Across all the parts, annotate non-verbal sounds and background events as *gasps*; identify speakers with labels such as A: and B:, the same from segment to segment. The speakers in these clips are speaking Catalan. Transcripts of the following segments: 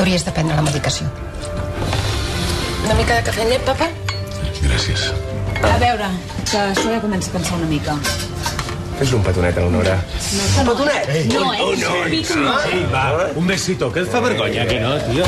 A: hauries de prendre la medicació.
B: Una mica de cafè amb llet, papa?
C: Gràcies.
D: A veure, que això ja comença a cansar una mica.
E: Fes un petonet a l'Honora.
B: Petonet! Ei,
D: No, eh?
C: Un noi! Sí, va, un besito, que et fa vergonya, que no, tio.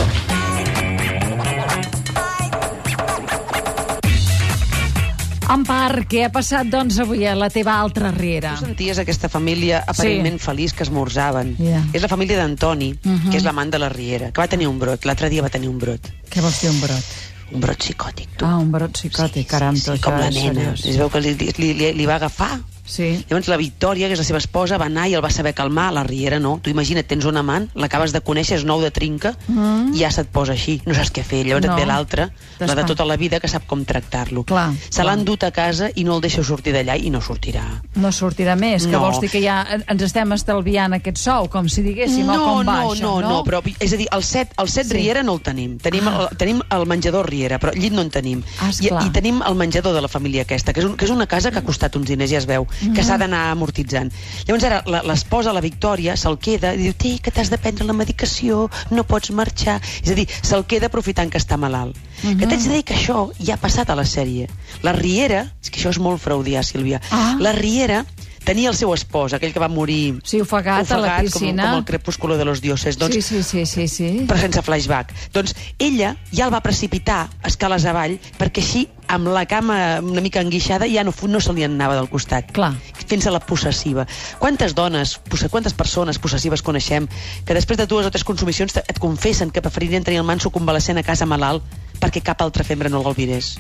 F: Empar, què ha passat, doncs, avui a la teva altra riera?
G: Tu senties aquesta família aparentment sí. feliç que esmorzaven.
F: Ja.
G: És la família d'Antoni,
F: Mhm.
G: que és l'amant de la Riera, que va tenir un brot. L'altre dia va tenir un brot.
F: Què vols dir, un brot?
G: Un brot psicòtic, tu.
F: Ah, un brot psicòtic, caram, tu,
G: sí, com
F: això
G: la
F: és
G: nena.
F: seriós.
G: Es veu que li, li, li, li va agafar.
F: Sí.
G: Llavors la Victòria, que és la seva esposa, va anar i el va saber calmar. La Riera no. Tu imagina't, tens un amant, l'acabes de conèixer, és nou de trinca, mm. i ja se't posa així. No saps què fer. Llavors
F: Mhm. No.
G: et ve l'altre, la de
F: T'espanta.
G: tota la vida, que sap com tractar-lo.
F: Clar,
G: Se
F: clar.
G: l'ha endut a casa i no el deixa sortir d'allà i no sortirà.
F: No sortirà més, que
G: No.
F: vols dir que ja ens estem estalviant aquest sou, com si diguéssim, o com va
G: no,
F: això,
G: no, no, però és a dir, el set, el set
F: Sí.
G: sí. Riera no el tenim. Tenim, el, tenim el menjador Riera, però llit no en tenim.
F: Ah,
G: I,
F: esclar.
G: I tenim el menjador de la família aquesta, que és, un, que és una casa que ha costat uns diners, ja es veu,
F: Mm.
G: que s'ha d'anar amortitzant. Llavors ara la- l'esposa, la Victòria, se'l queda i diu, té, que t'has de prendre la medicació, no pots marxar. És a dir, se'l queda aprofitant que està malalt. Que t'haig
F: Mm-hmm.
G: de dir que això ja ha passat a la sèrie. La Riera, és que això és molt freudià, Sílvia,
F: Ah.
G: la Riera tenia el seu espòs, aquell que va morir
F: Sí, ofegat a la
G: ofegat,
F: piscina.
G: Com, com el crepúsculo de los dioses. Doncs
F: Sí, sí, sí, sí, sí.
G: però sense flashback. Doncs ella ja el va precipitar escales avall perquè així, amb la cama una mica enguixada, ja no, fu- no se li anava del costat.
F: Clar.
G: Fins a la possessiva. Quantes dones, posse- quantes persones possessives coneixem que després de dues o tres consumicions te- et confessen que preferirien tenir el manso convalescent a casa malalt perquè cap altre fembre no l'albirés?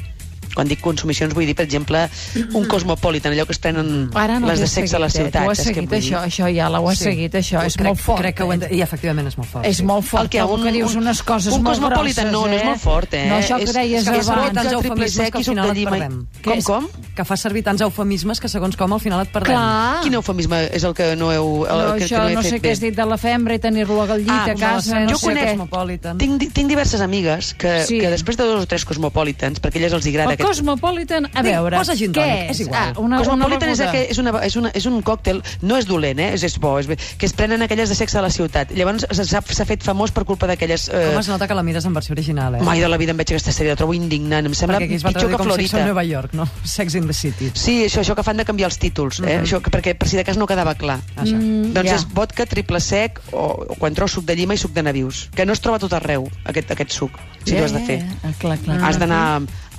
G: Quan dic consumicions vull dir, per exemple, un cosmopolitan, allò que es prenen
F: Mm-hmm. Ara no
G: les
F: ho
G: de
F: he
G: sexe a les
F: seguit, eh?
G: ciutats.
F: Ho has
G: saps què
F: seguit,
G: vull dir?
F: això, això ja, la ho has
H: Sí.
F: seguit, això. És
H: crec,
F: molt fort.
H: Crec que ho
F: eh?
H: ent... I efectivament és molt fort.
F: És molt fort,
G: El que
F: el que,
G: un-
F: que dius
G: un-
F: unes coses
G: un
F: molt
G: cosmopolitan,
F: grosses,
G: no, no és
F: eh?
G: molt fort, eh?
F: No, això
G: És-
F: que deies
G: és que
H: És molt
G: Abans.
H: tants
F: abans.
G: el
H: eufemismes que
G: Triple X
H: al final
G: ho
H: et
G: tenim, eh?
H: perdem.
G: Com,
H: Que és-
G: com?
H: Que fa servir tants eufemismes que segons com al final et perdem.
F: Clar.
G: Quin eufemisme és el que no heu... El,
F: no,
G: que,
F: això,
G: que no, he
F: no sé
G: fet
F: què
G: bé?
F: has dit de la fembra i tenir-lo al llit
H: Ah,
F: a casa, no
H: jo
F: sé
H: conec
F: què.
H: Cosmopolitan.
G: Tinc, di- tinc diverses amigues que,
F: Sí.
G: sí. que després de dos o tres cosmopolitans, perquè a elles els hi agrada
F: El
G: aquest...
F: Cosmopolitan, a
H: Vinga,
F: veure,
H: posa gin
F: què
H: tònic,
F: és?
H: és igual.
F: Ah, una,
G: Cosmopolitan
F: una
G: és, aquell, és, una, és, una, és un còctel, no és dolent, eh? és, és bo, és bé, que es prenen aquelles de sexe a la ciutat. Llavors s'ha- s'ha fet famós per culpa d'aquelles... Eh,
H: Com es nota que la mires en versió original, eh?
G: Mai de la vida em veig aquesta sèrie, la trobo indignant, em sembla
H: Perquè aquí es va
G: pitjor
H: traduir
G: que
H: com Sex
G: Florita.
H: a Nova York, no? *laughs* Sex in the City.
G: Sí, això, això que fan de canviar els títols, eh? això, que, perquè per si de cas no quedava clar.
H: Això.
F: Mm,
G: Doncs
F: Mhm. ja.
G: és vodka, triple sec, o, o quan trobes suc de llima i suc de navius, que no es troba a tot arreu, aquest, aquest suc, si yeah, l'has de fer.
F: Ah, clar, clar.
G: Has d'anar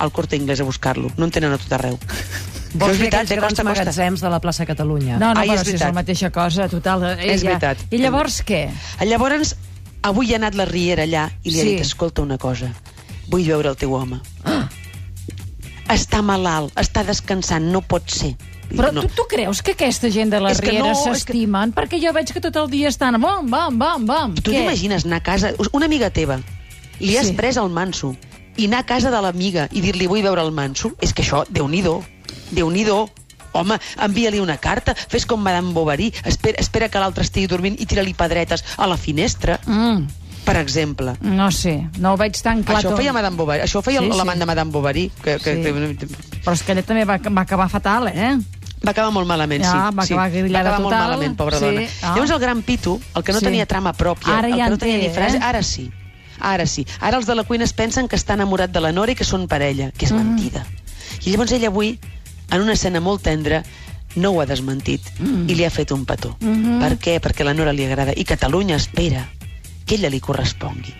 G: al corte inglès a buscar-lo. No en tenen a tot arreu.
F: *laughs*
G: Però
H: Vols
G: és
H: dir
G: veritat,
H: aquells
G: eh,
H: grans
G: costa, costa.
H: magatzems de la plaça Catalunya.
F: No, no,
G: Ai,
F: però
G: és
F: si és
G: veritat.
F: la mateixa cosa, total. eh,
G: És
F: ja.
G: veritat.
F: I llavors què?
G: Eh, Llavors, avui ha anat la Riera allà i li sí. ha
F: Sí. Ah.
G: dit, escolta una cosa, vull veure el teu home. Està malalt, està descansant, no pot ser. Dic,
F: Però
G: no.
F: tu, tu creus que aquesta gent de la
G: És que
F: Riera
G: no, és que-
F: s'estimen? Perquè jo veig que tot el dia estan... Bam, bam, bam, bam.
G: Tu
F: Què?
G: t'imagines anar a casa... Una amiga teva, li has
F: Sí.
G: pres el manso, i anar a casa de l'amiga i dir-li vull veure el manso, és que això, déu-n'hi-do, déu-n'hi-do. Home, envia-li una carta, fes com Madame Bovary, espera, espera que l'altre estigui dormint i tira-li pedretes a la finestra,
F: Mm,
G: per exemple.
F: no sé, no ho veig tan clar.
G: això ho
F: tot.
G: feia Madame Bovary, això ho feia
F: Sí,
G: sí,
F: sí.
G: l'amant de Madame Bovary, que, que
F: Sí.
G: sí.
F: Però és que ella també va, va acabar fatal, eh?
G: va acabar molt malament, sí.
F: Ja, Ah, va
G: sí.
F: acabar
G: va
F: grillada
G: acabar molt
F: total.
G: malament, pobra
F: Sí,
G: dona.
F: ah.
G: Llavors el gran Pitu, el que no
F: Sí.
G: tenia trama pròpia,
F: Ara
G: el
F: ja
G: que
F: en
G: no tenia
F: té,
G: ni frase,
F: eh?
G: ara sí. Ara sí. Ara els de la cuina es pensen que està enamorat de la Nora i que són parella,
F: Mm.
G: que és mentida. I llavors ell avui, en una escena molt tendra, no ho ha desmentit
F: Mm.
G: i li ha fet un petó.
F: Mm-hmm.
G: Per què? Perquè la Nora li agrada i Catalunya espera que ella li correspongui.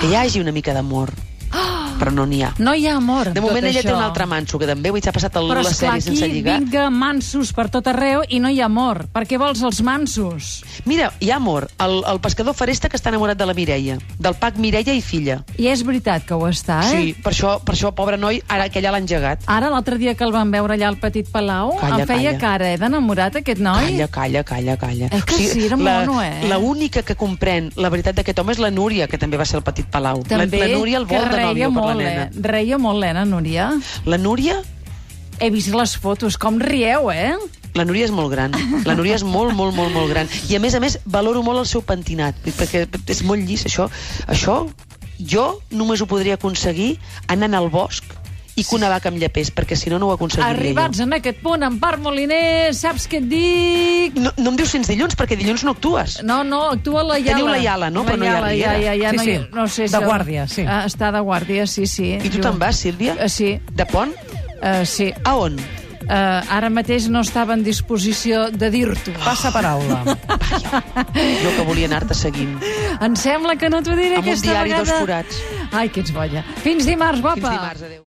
G: Que hi hagi una mica d'amor,
F: *gasps*
G: però no n'hi ha.
F: No hi ha amor.
G: De
F: en tot
G: moment ella
F: això.
G: té un altre manso, que també avui s'ha passat el,
F: Però
G: la
F: esclar,
G: sèrie
F: aquí
G: sense lligar.
F: vinga mansos per tot arreu i no hi ha amor. Per què vols els mansos?
G: Mira, hi ha amor. El, el pescador faresta que està enamorat de la Mireia, del pac Mireia i filla.
F: I és veritat que ho està, eh?
G: Sí, per això, per això, pobre noi, ara que ja l'han llegat.
F: Ara, l'altre dia que el vam veure allà al Petit Palau,
G: Calla,
F: em feia
G: calla.
F: cara, eh, d'enamorat aquest noi.
G: Calla, calla, calla, calla.
F: Eh que sí, era
G: la,
F: mono, eh?
G: La única que comprèn la veritat d'aquest home és la Núria, que també va ser el petit Palau.
F: També,
G: la, la Núria el vol
F: que
G: de
F: reia
G: nòvio per la
F: molt,
G: nena.
F: eh? Reia molt, l'Ena, Núria.
G: La Núria
F: He vist les fotos, com rieu, eh?
G: la Núria és molt gran. La Núria és molt, molt, molt, molt gran. I a més a més, valoro molt el seu pentinat, perquè és molt llis, això. Això jo només ho podria aconseguir anant al bosc i que una vaca amb llapers, perquè si no, no ho aconseguiria
F: Arribats
G: jo.
F: en aquest punt, Empar Moliner, saps què et dic?
G: No, no em dius fins dilluns, perquè dilluns no actues.
F: No, no, actua la Iala.
G: diu la Iala, no? Però no hi ha
F: ja,
G: Riera.
F: ja, ja,
H: Sí,
F: no, hi-
H: sí.
F: no sé si...
H: De guàrdia, sí.
F: Ah, està de guàrdia, sí, sí.
G: I tu te'n vas, Sílvia?
F: Eh, sí.
G: De pont?
F: Uh, sí.
G: A on?
F: Uh, ara mateix no estava en disposició de dir-t'ho.
H: Passa paraula.
G: Jo que volia anar-te seguint.
F: Em sembla que no t'ho diré
G: Ah. Amb un
F: aquesta
G: diari,
F: vegada.
G: dos forats.
F: Ai, que ets bolla. Fins dimarts, guapa.
G: Fins dimarts, adéu.